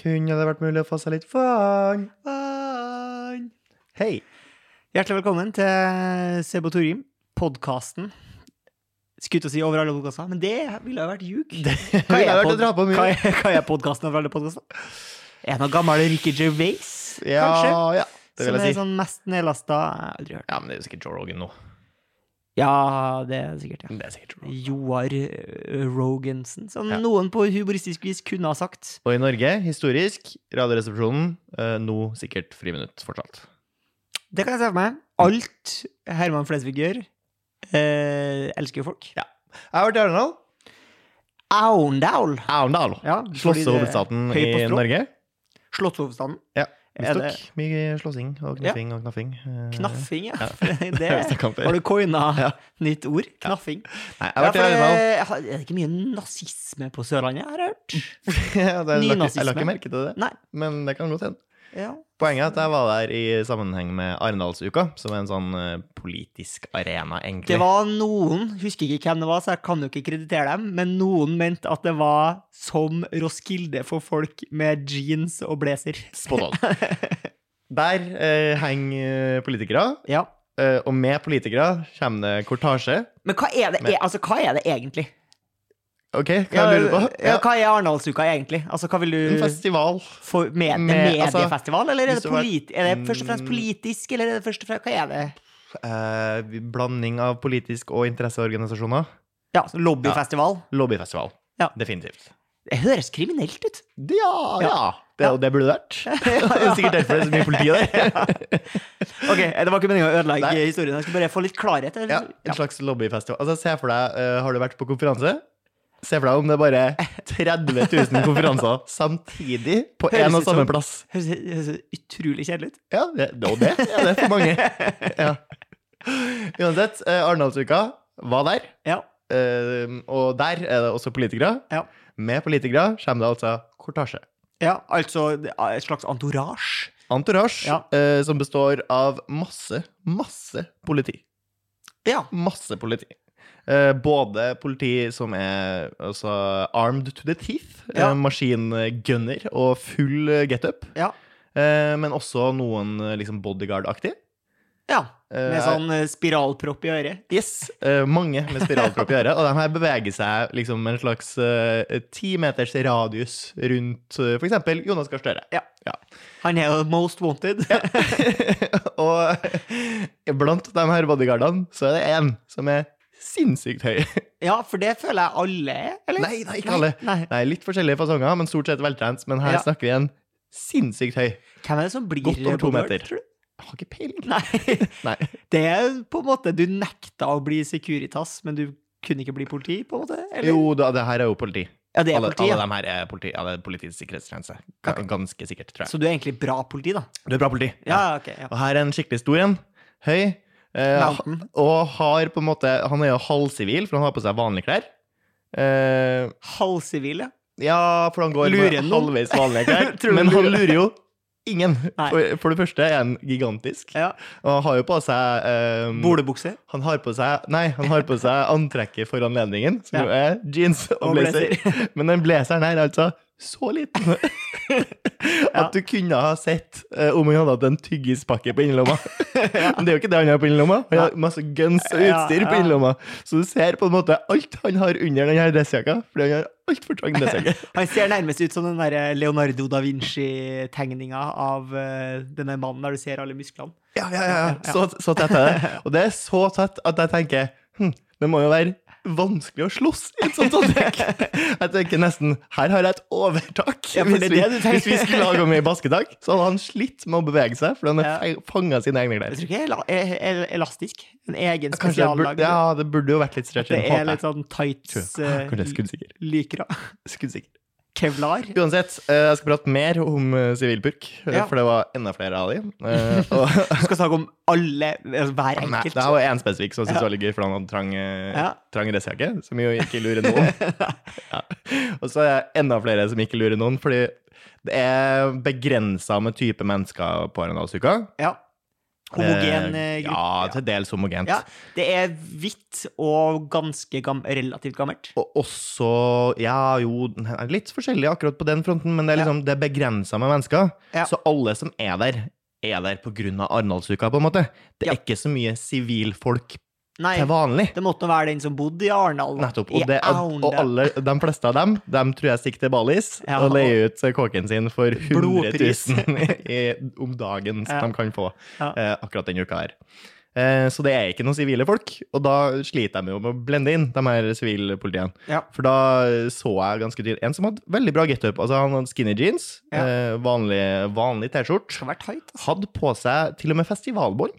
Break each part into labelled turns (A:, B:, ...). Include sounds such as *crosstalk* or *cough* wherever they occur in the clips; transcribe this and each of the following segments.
A: Kunne det vært mulig å få seg litt vann?
B: Vann.
A: Hei.
B: Hjertelig velkommen til Sebotorium, podkasten. Skulle til å si over alle podkaster, men det ville jo vært ljug. Hva
A: ville vært å
B: pod-
A: dra på mye.
B: Hva er, hva er podkasten over alle podkaster? En av gamle Ricky Gervais,
A: Ja,
B: kanskje?
A: ja. Det
B: som
A: vil
B: er
A: jeg si.
B: sånn mest nedlasta Jeg har aldri hørt.
A: Ja, men det er jo sikkert Joe Rogan nå.
B: Ja, det er sikkert, ja.
A: Det er sikkert Joe Rogan.
B: Joar eh, Rogensen, som
A: Ja.
B: noen på humoristisk vis kunne ha sagt.
A: Og i Norge, historisk, Radioresepsjonen, eh, nå sikkert friminutt fortsatt.
B: Det kan jeg se for meg. Alt Herman Flesvig gjør, eh, elsker jo folk. Ja.
A: Jeg har vært i Arendal.
B: Aurendal!
A: Arendal.
B: Ja, fordi
A: Slåss
B: det er
A: over hovedstaden
B: høy på
A: i
B: strå.
A: Norge.
B: Slottshovedstaden.
A: Ja.
B: Er det
A: Stokk. Mye slåssing og
B: Ja.
A: knaffing og knaffing. eh, *laughs*
B: knaffing, ja?
A: Ja.
B: *laughs* Det,
A: har vi snakket om før.
B: har du
A: *laughs*
B: coina
A: Ja.
B: nytt ord? Knaffing.
A: Nei, jeg har vært i
B: Ja, for
A: Arendal.
B: det- har- er det ikke mye nazisme på Sørlandet, har jeg hørt?
A: *laughs* Ja, det- Jeg la ikke- jeg la
B: Nynazisme.
A: ikke merke til det,
B: Nei.
A: men det kan godt hende.
B: Ja.
A: Poenget er at jeg var der i sammenheng med Arendalsuka, som er en sånn eh, politisk arena, egentlig.
B: Det var noen, husker ikke hvem det var, så jeg kan jo ikke kreditere dem, men noen mente at det var som Roskilde for folk med jeans og blazer.
A: Spot on. *laughs* Der eh, henger politikere,
B: Ja.
A: eh, og med politikere kommer det kortasje.
B: Men hva er det,
A: Men-
B: e- altså, hva er det egentlig?
A: Ok, hva lurer du på?
B: ja, hva er Arendalsuka egentlig? Altså, hva vil du
A: En festival.
B: For med,
A: Med- altså,
B: mediefestival, eller er
A: hvis
B: det,
A: du har vært-
B: politi er det først og fremst
A: Mm.
B: politisk, eller er det først og fremst, hva er det?
A: Eh, blanding av politisk og interesseorganisasjoner.
B: Ja, så lobbyfestival.
A: Lobbyfestival.
B: Ja.
A: Definitivt.
B: Det høres kriminelt ut.
A: Ja, ja. Det,
B: Ja.
A: det burde det
B: *laughs*
A: vært. Det er sikkert derfor det er så mye politi der.
B: Ok, eh, det var ikke meningen å ødelegge
A: Nei.
B: historien, jeg skulle bare få litt klarhet.
A: Ja,
B: eller-
A: en
B: *laughs* Ja.
A: slags lobbyfestival. Altså, se for deg, eh, har du vært på konferanse? Se for deg om det er bare
B: *laughs*
A: 30 000 konferanser samtidig på
B: Høres
A: én og
B: ut som-
A: samme plass.
B: Høres, høres utrolig kjedelig ut.
A: Ja, det, og det er det for mange.
B: *laughs*
A: Ja. Uansett, eh, Arendalsuka var der,
B: Ja.
A: eh, og der er det også politikere.
B: Ja.
A: Med politikere kommer det altså kortasje.
B: ja, altså det er et slags entourage.
A: Entourage
B: Ja.
A: eh, som består av masse, masse politi.
B: Ja.
A: Masse politi. Eh, både politi som er altså, armed to the teeth,
B: Ja.
A: eh, maskingunner og full eh, getup,
B: Ja.
A: eh, men også noen eh, liksom bodyguard-aktig.
B: ja. Med
A: Eh,
B: sånn eh, spiralpropp i øret.
A: Yes, eh, mange med spiralpropp i øret. Og de her beveger seg liksom med en slags eh, ti meters radius rundt eh, for eksempel Jonas Gahr Støre.
B: Ja. Han er jo most wanted.
A: *laughs*
B: Ja.
A: og blant de her bodyguardene så er det én som er sinnssykt høy.
B: for det føler jeg alle er, eller?
A: Nei, nei, ikke alle.
B: Nei.
A: Nei, litt forskjellige fasonger, men stort sett veltrent. Men her
B: Ja.
A: snakker vi en sinnssykt høy.
B: Hvem er det som blir
A: Godt over to
B: bodyguard,
A: meter.
B: tror du?
A: Jeg har ikke peiling.
B: *laughs* Nei.
A: Nei.
B: Det er på en måte Du nekta å bli Securitas, men du kunne ikke bli politi, på en måte? Eller?
A: Jo da, det her er jo politi.
B: ja, det er
A: alle,
B: politi, ja.
A: alle de her er politi. Ja, det er Politiets sikkerhetstjeneste. Ga- Ganske sikkert, tror jeg.
B: Så du er egentlig bra politi, da?
A: Du er bra politi.
B: Ja, ok. Ja.
A: Og her er en skikkelig stor en. Høy. eh,
B: Mountain.
A: og har på en måte Han er jo halvsivil, for han har på seg vanlige klær. Eh,
B: Halvsivil, ja.
A: ja, for han går
B: Lurer
A: med
B: noen?
A: halvveis
B: *laughs*
A: vanlige klær.
B: Tror du
A: men
B: han
A: han lurer jo ingen.
B: Nei.
A: For, for det første er han gigantisk.
B: ja.
A: Og han har jo på seg eh,
B: Bolebukse.
A: han har på seg Nei, han har på seg antrekket for anledningen, som
B: Ja.
A: jo er jeans og
B: Og blazer.
A: blazer. *laughs* Men den blazeren her er altså så liten *laughs*
B: Ja.
A: at du kunne ha sett eh, om han hadde hatt en tyggispakke på innerlomma. *laughs* Men det er jo ikke det han har på innerlomma. Han har masse guns og
B: Ja,
A: utstyr på
B: ja.
A: innerlomma. Så du ser på en måte alt han har under denne dressjakka, fordi han har altfor trang dressjakke.
B: Han ser nærmest ut som den der Leonardo da Vinci-tegninga av eh, denne mannen der du ser alle musklene.
A: Ja, ja, ja, ja. Så, så tett er det. Og det er så tett at jeg tenker hm, det må jo være vanskelig å slåss i et sånt
B: *laughs*
A: antrekk. Jeg tenker nesten her har jeg et overtak.
B: Ja, for det
A: hvis, vi,
B: er det du tenker.
A: hvis vi skulle lage om i basketak, så hadde han slitt med å bevege seg, for han er fanga av sine egne
B: Jeg
A: klær.
B: tror ikke det er la- er er elastisk. En egen
A: Kanskje det
B: spesiallag.
A: burde, ja, det burde jo vært litt
B: Det
A: stretching.
B: er litt sånn tights, eh,
A: Kanskje skuddsikker.
B: lykra,
A: skuddsikker.
B: *laughs* kevlar.
A: Uansett, eh, jeg skal prate mer om eh, sivilpurk, eh,
B: Ja.
A: for det var enda flere av de.
B: *laughs*
A: Eh, Og
B: Du skal snakke om alle, altså hver
A: Nei,
B: enkelt.
A: det her var én spesifikk som jeg syntes
B: Ja.
A: var litt gøy, for han hadde trang, eh,
B: Ja.
A: trang dressjakke, som jo ikke
B: *laughs*
A: lurer noen. ja. Og så er det enda flere som ikke lurer noen, fordi det er begrensa med type mennesker på Arendalsuka.
B: Ja. Homogen
A: Eh,
B: eh, gruppe.
A: Ja, til dels homogent.
B: *laughs* Ja, det er hvitt og ganske gam relativt gammelt.
A: Og også Ja, jo, den er litt forskjellig akkurat på den fronten, men det er
B: Ja.
A: liksom Det er begrensa med mennesker.
B: Ja.
A: Så alle som er der, er der på grunn av Arendalsuka, på en måte. Det er
B: Ja.
A: ikke så mye sivilfolk
B: Nei,
A: til vanlig.
B: det måtte nå være den som bodde i Arendal.
A: Nettopp.
B: I
A: Og, det,
B: Aunda.
A: og alle, de fleste av dem dem tror jeg stikker til Balis
B: Ja.
A: og leier ut kåken sin for 100
B: Blodpris.
A: 000 *laughs* i, om dagen som
B: Ja.
A: de kan få
B: Ja.
A: eh, akkurat denne uka her. Eh, så det er ikke noen sivile folk, og da sliter de jo med å blende inn de her sivilpolitiene.
B: Ja.
A: For da så jeg ganske tydelig en som hadde veldig bra getup. Altså, han hadde skinny jeans,
B: Ja.
A: eh, vanlig, vanlig T-skjorte.
B: Skal være tight. ass.
A: Hadde på seg til og med festivalbånd,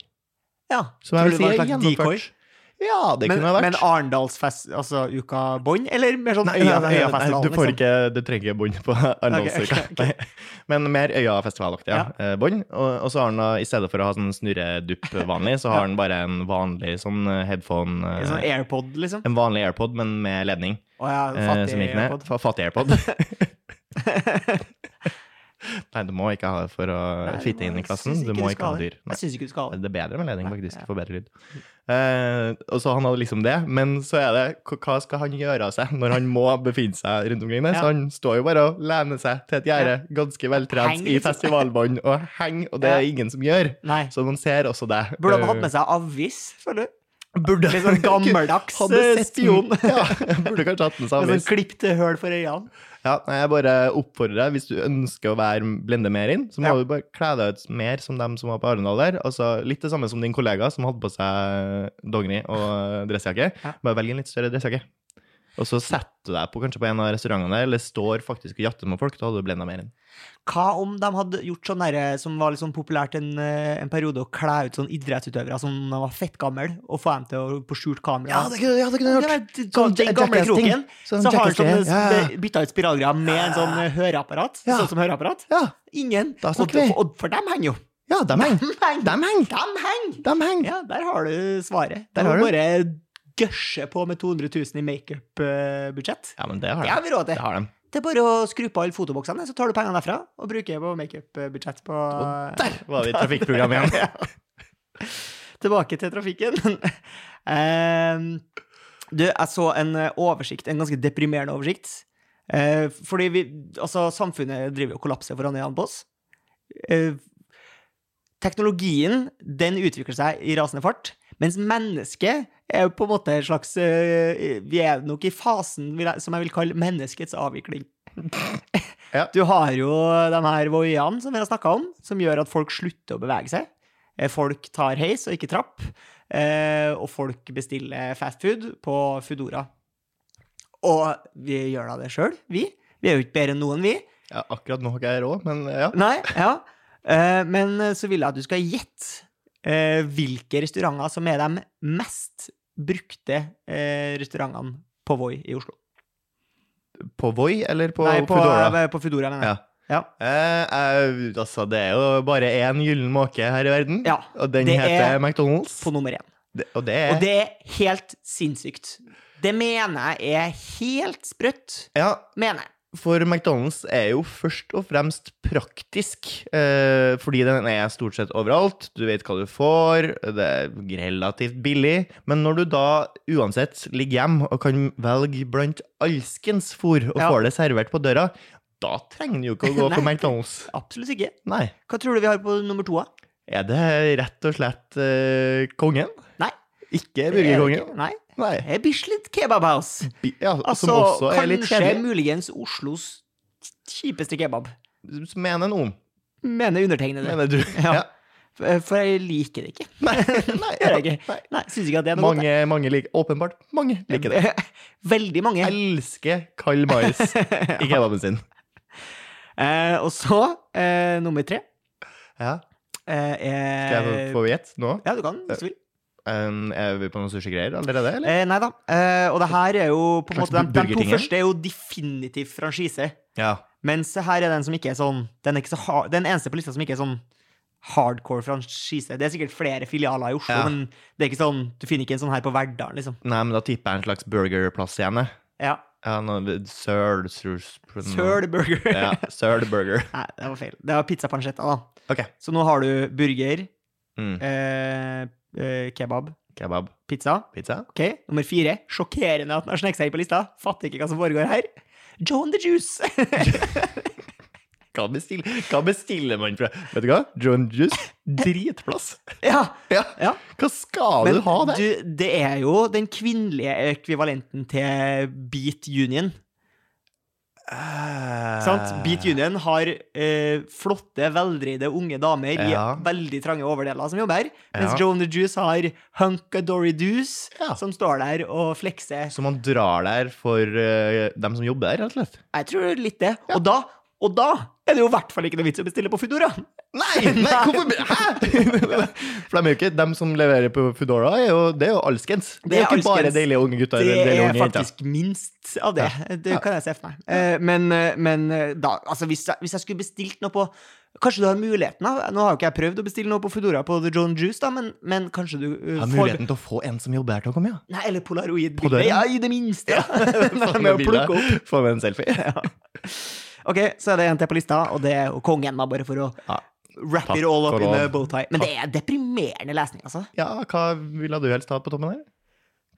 B: Ja.
A: som jeg
B: Tror
A: vil si
B: du det
A: er
B: var en slags decoy?
A: gjennomført. Ja, det
B: men,
A: kunne ha vært.
B: Men Arendalsfest, altså uka bånd, eller mer sånn
A: Nei, nei, nei, nei,
B: Øyafestivalen? liksom?
A: du får ikke Du trenger ikke bånd på Arendalsuka.
B: Ok, ok, ok.
A: Nei. Men mer Øyafestivalaktig ja. eh, bånd. Og, og så har han da, i stedet for å ha sånn snurredupp vanlig, så har han bare en vanlig sånn eh, headphone eh,
B: En sånn AirPod, liksom?
A: En vanlig AirPod, men med ledning,
B: Å ja,
A: eh,
B: fattig
A: som gikk ned.
B: AirPod.
A: Fa- Fattig
B: *laughs*
A: AirPod. Nei, du må ikke ha det for å
B: Nei, det
A: fitte
B: må-
A: inn i
B: jeg
A: klassen.
B: synes
A: Du
B: ikke
A: må
B: du
A: ikke
B: skal
A: ha
B: det.
A: dyr. Nei.
B: Jeg syns ikke du skal ha det.
A: Det er bedre med ledning, faktisk.
B: ja.
A: Du får bedre lyd. Eh, og så han hadde liksom det, men så er det hva- hva skal han gjøre av seg når han må befinne seg rundt omkring der?
B: Ja.
A: Så han står jo bare og lener seg til et gjerde, ganske
B: Heng,
A: veltrent i
B: liksom.
A: festivalbånd, og henger, og det er
B: Ja.
A: ingen som gjør.
B: Nei.
A: Så man ser også det. Eh,
B: Burde han hatt med seg avis,
A: *laughs*
B: føler du?
A: Burde
B: Litt sånn gammeldags
A: *laughs* Hadde
B: eh,
A: sett
B: spion.
A: den- *laughs*
B: *laughs*
A: Ja, burde kanskje hatt med seg
B: Med sånn
A: avis.
B: klipte høl for øynene.
A: Ja, nei, jeg bare oppfordrer deg, hvis du ønsker å være blende mer inn, så må
B: Ja.
A: du bare kle deg ut mer som dem som var på Arendal der. Altså litt det samme som din kollega som hadde på seg dongeri *laughs* og dressjakke.
B: Ja.
A: Bare velg en litt større dressjakke. Og så setter du deg på kanskje på en av restaurantene der, eller står faktisk og jatter med folk, da hadde du blenda mer inn.
B: Hva om de hadde gjort sånn derre som var litt sånn populært en, eh, en periode, å kle ut sånn idrettsutøvere som de var fettgamle, og få dem til å på skjult kamera?
A: kunne ja,
B: Ja, men sånn, den gamle kroken, så har han sånn
A: ja, ja.
B: sp- bytta ut spiralgreier med en sånn eh, høreapparat.
A: Ja.
B: Sånn som høreapparat.
A: ja,
B: Ingen.
A: Da
B: Og,
A: snakker vi.
B: og for dem henger jo. *laughs*
A: ja, dem henger.
B: Dem henger.
A: Dem henger.
B: Dem henger.
A: Dem henger.
B: Ja, der har du svaret.
A: Der
B: Der
A: har
B: har du bare gørse på med 200 000 i makeup-budsjett.
A: Ja, men det har
B: Det
A: de.
B: har vi råd
A: Det
B: til.
A: har de.
B: Det er bare å skru på alle fotoboksene, så tar du pengene derfra og bruker på makeup-budsjett på eh,
A: Der var vi i trafikkprogrammet *laughs* igjen.
B: Tilbake til trafikken. *laughs* Ehm, du, jeg så en eh, oversikt, en ganske deprimerende oversikt. Eh, fordi vi, altså, samfunnet driver jo og kollapser foran øynene på oss. Eh, teknologien den utvikler seg i rasende fart, mens mennesket er jo på en måte en slags eh, Vi er nok i fasen vil jeg- som jeg vil kalle menneskets avvikling.
A: Ja.
B: *laughs* Du har jo de her voiene som vi har snakka om, som gjør at folk slutter å bevege seg. Eh, Folk tar heis og ikke trapp, eh, og folk bestiller fastfood på Foodora. Og vi gjør da det sjøl, vi. Vi er jo ikke bedre enn noen, vi.
A: Ja, akkurat nå har ikke jeg råd, men ja.
B: Nei, ja. Eh, men så vil jeg at du skal gjette eh, hvilke restauranter som er de mest brukte eh, restaurantene på Voi i Oslo.
A: På Voi eller på
B: Nei, på
A: Foodora?
B: eh, På Foodora, mener jeg.
A: Ja.
B: Ja.
A: Eh, eh, altså, det er jo bare én gyllen måke her i verden,
B: Ja.
A: og den
B: det
A: heter
B: er-
A: McDonald's.
B: På nummer én.
A: Det- og det er
B: Og det er helt sinnssykt. Det mener jeg er helt sprøtt.
A: Ja,
B: Mener jeg.
A: for McDonald's er jo først og fremst praktisk, eh, fordi den er stort sett overalt. Du vet hva du får, det er relativt billig. Men når du da uansett ligger hjemme og kan velge blant alskens fôr, og
B: Ja.
A: får det servert på døra, da trenger du jo ikke å
B: *laughs*
A: gå for
B: Nei.
A: McDonald's.
B: Absolutt ikke.
A: Nei.
B: Hva tror du vi har på nummer to? da?
A: Er det rett og slett eh, kongen?
B: Nei.
A: Ikke
B: Det er det
A: burgerkongen?
B: ikke. Eh, Nei,
A: Nei.
B: det er Bislett Kebab House.
A: Bi- Ja,
B: Altså,
A: som også er litt
B: kanskje
A: kjedelig.
B: muligens Oslos kjipeste kebab.
A: Som er en om,
B: Mener undertegnede.
A: mener du?
B: Ja. For for jeg liker *laughs* det ikke.
A: Nei, nei,
B: Gjør jeg ikke.
A: nei.
B: Nei, Syns ikke at det er noe
A: Mange, mange liker Åpenbart mange
B: godt.
A: liker det.
B: jeg. *laughs* Veldig mange.
A: Elsker kald
B: *laughs*
A: mais i kebaben sin.
B: Eh, og så, eh, nummer tre
A: Ja.
B: eh,
A: Skal
B: er
A: jeg få gjette nå?
B: Ja, du kan hvis du vil.
A: Um, er vi på noen sushigreier allerede, eller?
B: Eh, nei da. Eh, og det her er jo på en
A: Slags
B: måte De, de to
A: burgertingen?
B: første er jo definitivt franchise.
A: Ja.
B: Mens her er den som ikke er sånn Den, er ikke så hard, den eneste på lista som ikke er sånn hardcore franchise. Det er sikkert flere filialer i Oslo,
A: Ja.
B: men det er ikke sånn, du finner ikke en sånn her på Verdalen, liksom.
A: Nei, men da tipper jeg en slags burgerplass igjen, jeg.
B: Ja.
A: Ja, noe Søl... Søl...
B: Søl burger.
A: Mm.
B: *laughs*
A: Ja, Sørl burger.
B: Nei, det var feil. Det var pizza pancetta, da.
A: Ok.
B: Så nå har du burger,
A: Mm.
B: Eh, eh, kebab.
A: Kebab.
B: Pizza.
A: Pizza.
B: Ok, Nummer fire. Sjokkerende at den har sneket seg inn på lista. Fatter ikke hva som foregår her. Joe and the Juice. *laughs*
A: Hva bestiller, hva bestiller man fra Vet du hva? John Juice. Dritplass.
B: ja,
A: *laughs* Ja.
B: ja.
A: Hva skal
B: Men
A: du ha der?
B: du, det er jo den kvinnelige ekvivalenten til Beat Union. Sant?
A: Ah.
B: Beat Union har eh, flotte, veldreide unge damer
A: Ja.
B: i veldig trange overdeler som jobber her, mens
A: Ja.
B: Joe and the Juice har Hunkadory Doos
A: Ja.
B: som står der og flekser.
A: Så man drar der for eh, dem som jobber der, rett og slett?
B: Jeg tror litt det. Og, da, og da er det jo i hvert fall ikke noe vits i å bestille på Foodora.
A: Nei! *laughs* nei, hvorfor Hæ?! *laughs* For de er jo ikke dem som leverer på Foodora, er jo, det er jo alskens. Det,
B: Det
A: er
B: er
A: jo ikke bare
B: alskens.
A: deilige unge gutter.
B: Det
A: eller deilige
B: er
A: unge jenter.
B: faktisk minst av det. Det
A: Ja.
B: kan jeg se for meg. Eh, Men, eh, men eh, da, altså hvis jeg, hvis jeg skulle bestilt noe på Kanskje du har muligheten, da? Nå har jo ikke jeg prøvd å bestille noe på Foodora på The John Juice, da, men, men kanskje du eh,
A: Har
B: får
A: muligheten til å få en som jobber her til å komme, ja.
B: Nei, eller
A: På
B: polaroid-bilde.
A: døren?
B: Ja, i det *laughs* minste. Ja.
A: *laughs* Få
B: Med å
A: med bildet,
B: plukke opp.
A: Få med en selfie.
B: Ok, så er det en til på lista, og det er jo kongen, da, bare for å
A: Ja.
B: wrap
A: Takk
B: it all up
A: for
B: in a
A: lov.
B: bowtie. Men det er deprimerende lesning, altså.
A: Ja, hva ville du helst ha på toppen her?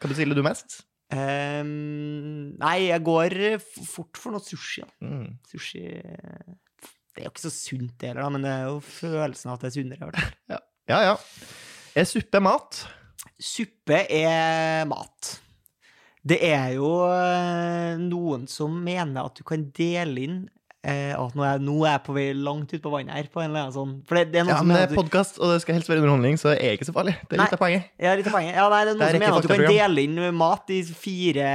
A: Hva bestiller du mest?
B: Ehm, nei, jeg går eh, f- fort for noe sushi. Da.
A: Mm.
B: Sushi eh, Det er jo ikke så sunt, det heller, da, men det er jo følelsen av at det er sunnere. i hvert fall.
A: Ja, ja. Er suppe mat?
B: *laughs* Suppe er mat. Det er jo eh, noen som mener at du kan dele inn eh, at nå er, nå er jeg på vei langt ut på vannet her, på en eller annen sånn For det, det er
A: Ja,
B: noen
A: Altså,
B: som
A: men det
B: mener
A: er
B: at du-
A: podkast, og det skal helst være underholdning, så det er ikke så farlig. Det er
B: Nei.
A: litt av poenget.
B: Ja, litt av poenget. Ja, nei, det er
A: Det
B: noen
A: er
B: som
A: ikke
B: mener at du kan
A: faktaprogram.
B: dele inn mat i fire,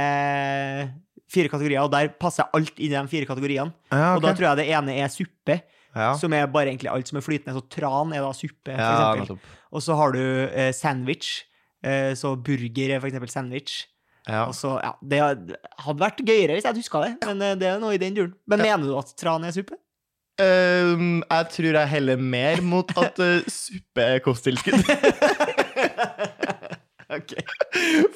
B: fire kategorier, og der passer alt inn i de fire kategoriene.
A: Ja,
B: Og da tror jeg det ene er suppe,
A: ja.
B: som er bare egentlig alt som er flytende. Så tran er da suppe,
A: Ja,
B: for eksempel.
A: nettopp.
B: Og så har du eh, sandwich. Eh, så burger er for eksempel sandwich.
A: Ja.
B: Og så, ja, det hadde vært gøyere hvis jeg hadde huska det, men eh, det er noe i den duren. Men mener du at tran er suppe?
A: Øhm, jeg tror jeg heller mer mot *laughs* at eh, suppe er *laughs* kosttilskudd.
B: Ok.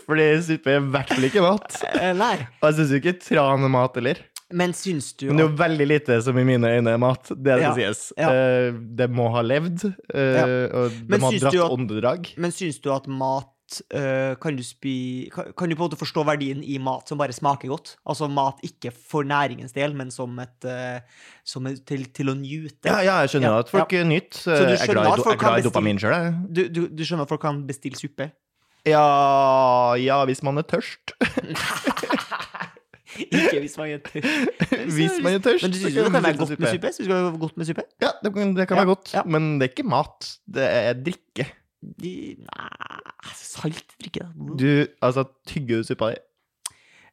A: Fordi suppe er i hvert fall ikke mat.
B: Eh, nei.
A: Og jeg syns jo ikke tran er mat heller.
B: Men syns du
A: Men det er jo veldig lite som i mine øyne er mat. Det skal
B: Ja,
A: sies.
B: ja.
A: Eh, det må ha levd, eh, og
B: Men
A: de har
B: syns
A: dratt
B: du at-
A: åndedrag.
B: Men syns du at mat eh, kan, du spi, kan, kan du på en måte forstå verdien i mat som bare smaker godt? Altså mat ikke for næringens del, men som et, eh, som et til, til å njute.
A: Ja, ja, jeg skjønner
B: Ja,
A: at folk eh, nyter.
B: Så du
A: Jeg er glad i
B: skjønner at
A: do- jeg
B: folk
A: er
B: kan
A: glad i
B: bestille-
A: dopamin sjøl, jeg.
B: Du, du, du skjønner at folk kan bestille
A: *laughs*
B: suppe?
A: Ja, ja, hvis man er
B: *laughs*
A: tørst.
B: ikke hvis man er tørst.
A: Hvis man er tørst,
B: Men du
A: så
B: syns det
A: kan
B: kan
A: man bestille
B: være godt med
A: suppe.
B: suppe? Syns du det kan være godt med suppe?
A: Ja, det kan, det kan
B: Ja,
A: være godt,
B: ja.
A: men det er ikke mat. Det er drikke.
B: De, nei, altså, salt drikke, da.
A: Du, altså, tygger du suppa di?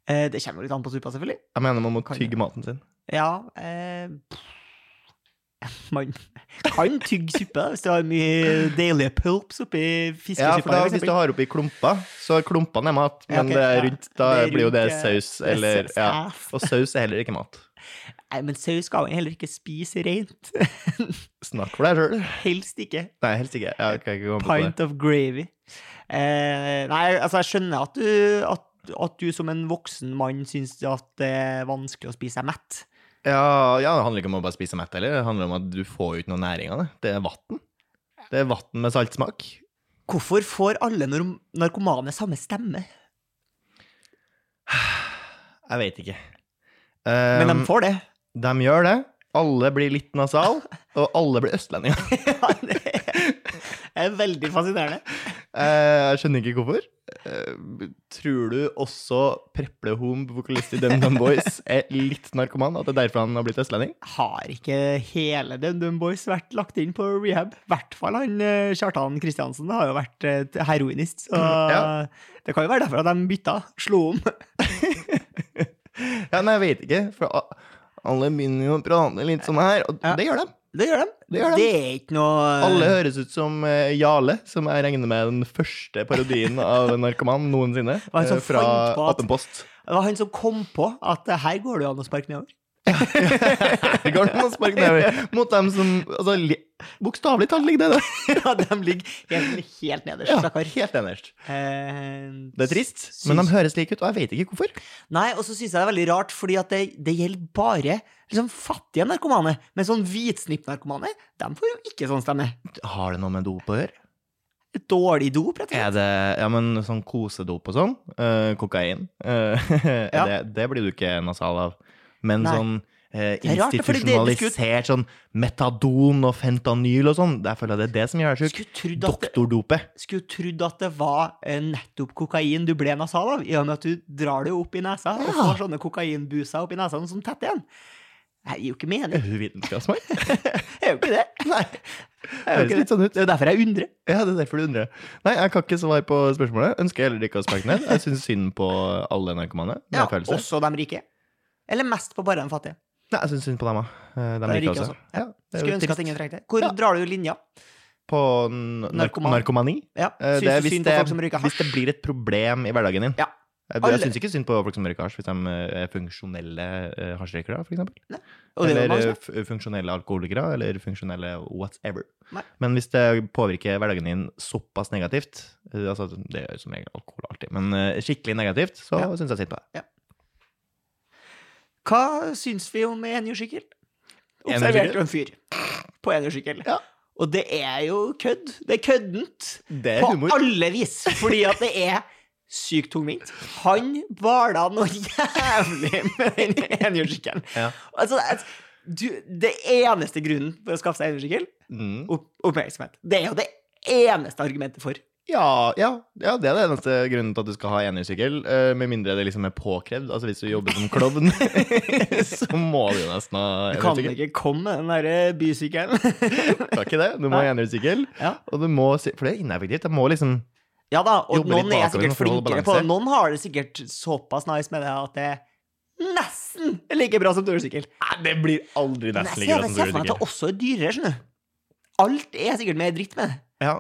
B: Eh, det kommer jo litt an på suppa, selvfølgelig.
A: Jeg mener man må
B: Kan
A: tygge maten sin.
B: Ja eh, pff. Man kan tygge suppe da, hvis du har mye deilige pulps oppi
A: Ja, for
B: fiskesuppa.
A: da,
B: for
A: Hvis
B: eksempel.
A: du har oppi klumper, så er klumpene er mat, men
B: Ja, ok,
A: det er
B: ja.
A: rundt, da
B: Det er
A: blir jo det
B: rundt, eh,
A: saus
B: det er
A: eller
B: saus,
A: ja.
B: ja.
A: Og saus er heller ikke mat.
B: Nei, men saus skal man heller ikke spise rent. *laughs*
A: Snakk for deg sjøl.
B: Helst ikke.
A: Nei, helst ikke. Ja, jeg kan ikke komme på det.
B: Pint of gravy. Eh, nei, altså, jeg skjønner at du, at, at du som en voksen mann syns at det er vanskelig å spise seg mett.
A: Ja, ja, det handler ikke om å bare spise mett heller. Det handler om at du får jo ikke noe næring av det. Det er vann. Det er vann med saltsmak.
B: Hvorfor får alle norm- narkomane samme stemme?
A: Jeg vet ikke.
B: Men
A: Um,
B: de får det.
A: de gjør det. Alle blir litt nasal, og alle blir østlendinger.
B: *laughs* Ja, det er veldig fascinerende.
A: Eh, Jeg skjønner ikke hvorfor. Eh, Tror du også Preplehom, vokalist i DumDum Boys, er litt narkoman? At det er derfor han har blitt østlending?
B: har ikke hele DumDum Boys vært lagt inn på rehab. I hvert fall han eh, Kjartan Kristiansen har jo vært eh, heroinist, så
A: Ja.
B: det kan jo være derfor at de bytta, slo om. *laughs*
A: Ja, nei, jeg vet ikke. For a- alle begynner jo å prate litt sånn her, og
B: Ja.
A: det gjør de.
B: Det gjør de.
A: Det gjør de.
B: er ikke noe
A: Alle høres ut som eh, Jarle, som jeg regner med er den første
B: *laughs*
A: parodien av en narkoman noensinne.
B: Hva er det som
A: eh, Fra
B: fant på at-
A: Apenpost.
B: Det var han som kom på at eh, her går det jo an å sparke nedover.
A: Det går an å sparke nedover mot dem som altså, li- Bokstavelig talt ligger det der.
B: *laughs* Ja, de ligger helt, helt nederst,
A: Ja,
B: stakkar.
A: helt enerst.
B: Eh,
A: Det er trist,
B: syns-
A: men de høres like ut, og jeg vet ikke hvorfor.
B: Nei, og så syns jeg det er veldig rart, fordi at det, det gjelder bare liksom, fattige narkomane. Men sånn hvitsnippnarkomane, de får jo ikke sånn stemme.
A: Har det noe med dop å gjøre?
B: Et dårlig dop, rett og slett.
A: Er det ja, men sånn kosedop og sånn? eh, kokain? eh, *laughs* er
B: Ja.
A: det, det blir du ikke nasal av. Men
B: Nei.
A: sånn eh,
B: er rart, det, fordi det- det skulle-
A: institusjonalisert sånn metadon og fentanyl og sånn, der føler jeg det er det som gjør deg sjuk.
B: Skulle trodd at det,
A: Doktordopet.
B: skulle trodd at det var eh, nettopp kokain du ble nasal av, i og med at du drar det jo opp i nesa og
A: Ja.
B: får sånne kokainbuser opp i nesa sånn som tetter igjen. Det gir jo ikke mening.
A: Er hun
B: *laughs*
A: vitenskapsmann?
B: Det er jo ikke det.
A: *laughs* Nei.
B: Det er jo
A: Høres
B: ikke det.
A: litt sånn ut.
B: Det er jo derfor jeg undrer.
A: Ja, det er derfor du undrer. Nei, jeg kan ikke svare på spørsmålet. Ønsker heller ikke å sparke ned. Jeg syns synd på alle narkomane. med
B: Ja,
A: følelser.
B: også de rike. Eller mest på bare de fattige.
A: Nei, jeg syns synd på dem òg. De
B: er
A: liker
B: rike
A: også.
B: også.
A: Ja, det er jo
B: Skulle ønske
A: trist.
B: at ingen trengte det. Hvor
A: Ja.
B: drar du linja?
A: På n- nark
B: Narkoman.
A: narkomani.
B: Ja.
A: Eh,
B: Syns
A: det er
B: du
A: hvis
B: synd
A: det-
B: på folk som røyker
A: Hvis
B: hasj?
A: det blir et problem i hverdagen din. Eh,
B: Ja.
A: Jeg,
B: Alle-
A: jeg syns ikke synd på folk som røyker hasj, hvis de eh, er funksjonelle eh, hasjrøykere, f.eks.
B: Og det er jo
A: Eller
B: mange sånn, som
A: eh, f- funksjonelle alkoholikere, eller funksjonelle whatever.
B: Nei.
A: Men hvis det påvirker hverdagen din såpass negativt, eh, altså det gjør som regel alkohol alltid, men eh, skikkelig negativt, så
B: Ja.
A: synes syns jeg synd på deg.
B: Hva syns vi om enhjørssykkel?
A: Enhjørssykkel?
B: Observerte jo en fyr på enhjørssykkel.
A: Ja.
B: Og det er jo kødd. Det er køddent
A: Det er
B: på
A: humor.
B: alle vis, fordi at det er sykt tungvint. Han bala noe jævlig med den enhjørssykkelen.
A: Ja.
B: Altså, det er- du, det eneste grunnen for å skaffe seg enhjørssykkel,
A: Mm.
B: opp- oppmerksomhet. Det er jo det eneste argumentet for.
A: Ja, ja, ja, det er det eneste grunnen til at du skal ha enhjørssykkel. eh, Med mindre det liksom er påkrevd. Altså Hvis du jobber som klovn, *laughs* så må du nesten ha
B: Du kan
A: enhjørssykkel.
B: ikke komme med den derre bysykkelen.
A: Du kan ikke det. Du må ha enhjørssykkel.
B: Ja.
A: Og du må si- For det er ineffektivt. Jeg må liksom
B: Ja da, og
A: Jobbe litt
B: noen er
A: bakover
B: sikkert
A: for å holde
B: flinkere på det.
A: balanse.
B: Noen har det sikkert såpass nice med det at det er nesten like bra som tursykkel.
A: Nei, det blir aldri
B: Men jeg ser jeg ser for meg at det også er dyrere, skjønner du. Alt er sikkert mer dritt med det.
A: Ja.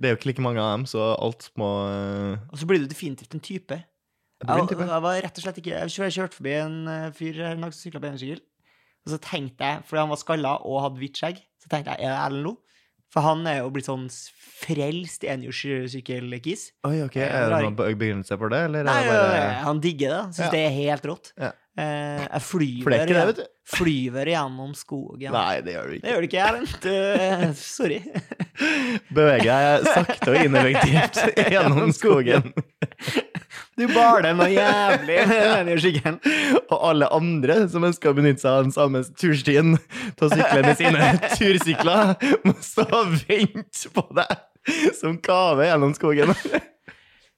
A: Det er jo ikke like mange av dem, så alt må eh,
B: Og så blir du definitivt en type.
A: det blir en
B: Jeg,
A: type.
B: jeg var rett og slett ikke Jeg kjør- kjørte forbi en eh, fyr her en dag som sykla på enhjørssykkel. Og så tenkte jeg, fordi han var skalla og hadde hvitt skjegg, så tenkte jeg er det Erlend Lo? For han er jo blitt sånn frelst enhjørssykkelkis.
A: Oi, ok, Er det noen be- begrunnelse for det, eller
B: Nei,
A: er det bare
B: nei, nei, han digger det. Syns
A: Ja.
B: det er helt rått.
A: Ja.
B: Eh, jeg
A: For det er
B: flyver,
A: ikke det,
B: igjen-
A: vet du.
B: flyver gjennom skogen.
A: Nei, det gjør du
B: Det
A: ikke.
B: gjør det ikke, Erlend. Eh, sorry.
A: *laughs* Beveger deg sakte og ineffektivt *laughs* gjennom skogen.
B: Du baler
A: *laughs*
B: noe jævlig med den skyggen.
A: Og alle andre som ønsker å benytte seg av den samme turstien til å sykle med *laughs* sine tursykler, må stå og vente på deg som kaver gjennom skogen.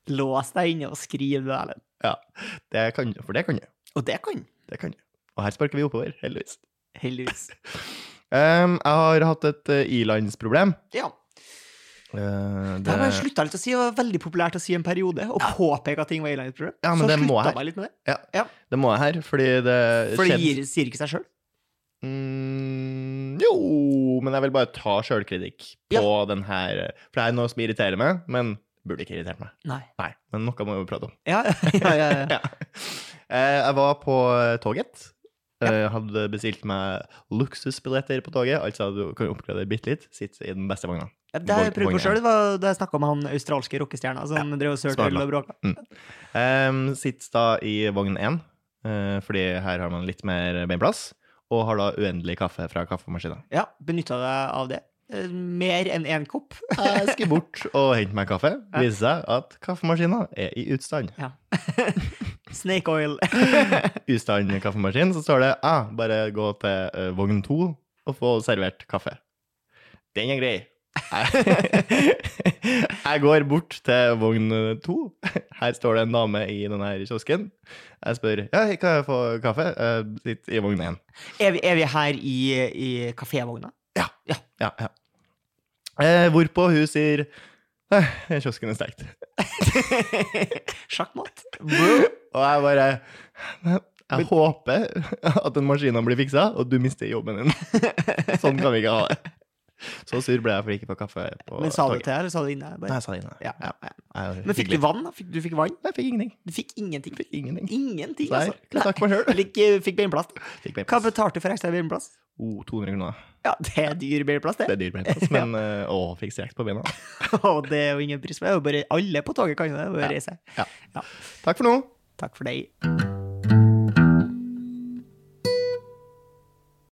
B: Lås deg inne og skriv det, Erlend.
A: Ja, *laughs* det kan du, for det kan du.
B: Og det kan
A: Det kan du. Og her sparker vi oppover, heldigvis. *laughs*
B: heldigvis.
A: Ehm, jeg har hatt et eh, ilandsproblem.
B: Ja.
A: Eh,
B: Det har jeg slutta litt å si. Det var veldig populært å si en periode, og påpeke at ting var Eilines problem.
A: Ja, men
B: så
A: det må
B: slutta
A: jeg.
B: meg litt med det.
A: det må jeg her, fordi det
B: For det
A: skjedde-
B: gir, sier ikke seg sjøl.
A: Mm, jo, men jeg vil bare ta sjølkritikk på den her. For det er noe som irriterer meg, men burde ikke irritert meg.
B: Nei.
A: Nei, men noe må vi prate om.
B: Ja, ja, ja,
A: *laughs*
B: ja.
A: Ja. Eh, Jeg var på eh, toget. Eh, Hadde bestilt meg luksusbilletter på toget. Altså du kan jo oppgradere bitte litt. Sitte i den beste vogna.
B: Ja, Det har jeg prøvd på sjøl, da jeg snakka med han australske rockestjerna som drev og sølte
A: smart,
B: øl
A: da.
B: og bråka.
A: Um, Sitter da i vogn én, eh, fordi her har man litt mer beinplass. Og har da uendelig kaffe fra kaffemaskinen.
B: Ja, benytta deg av det. Eh, Mer enn én kopp.
A: Jeg skulle bort og hente meg kaffe. Viser seg at kaffemaskinen er i utstand.
B: Snake oil. *laughs*
A: Utstand kaffemaskin, så står det ah, bare gå til eh, vogn to og få servert kaffe. Den er grei. *laughs* jeg går bort til vogn to. Her står det en dame i denne her kiosken. Jeg spør ja, hei, kan jeg få kaffe. Eh, Sitt i vogn én.
B: Er vi, er vi her i, i kafévogna?
A: Ja, ja. Eh, hvorpå hun sier eh, kiosken er stengt.
B: Sjakkmatt?
A: Og jeg bare «Men Jeg håper at den maskinen blir fiksa, og du mister jobben
B: *laughs*
A: din. Sånn kan vi ikke ha det. Så sur ble jeg for ikke å få kaffe på
B: Men sa du det
A: toget.
B: til deg, eller sa du inne?
A: Nei,
B: Bare?
A: jeg sa det inne.
B: Ja, ja, ja.
A: Jeg er jo
B: Men fikk du
A: hyggelig.
B: vann? da? Fikk, du fikk vann?
A: Nei, jeg fikk ingenting.
B: Du fikk ingenting?
A: Fikk ingenting.
B: Ingenting,
A: Nei,
B: altså.
A: kan snakke meg sjøl.
B: Eller ikke fikk beinplass.
A: Fikk mer
B: Hva
A: plass.
B: betalte du for ekstra beinplass?
A: Oh, 200 kroner.
B: Ja, det er dyr beinplass,
A: Det
B: det.
A: er dyr
B: *laughs*
A: plass, men eh, å, fikk strekt på beina.
B: Og det er jo ingen pris for det. er jo Bare alle på toget kan jo det. Bare reise.
A: Takk for nå.
B: Takk for deg.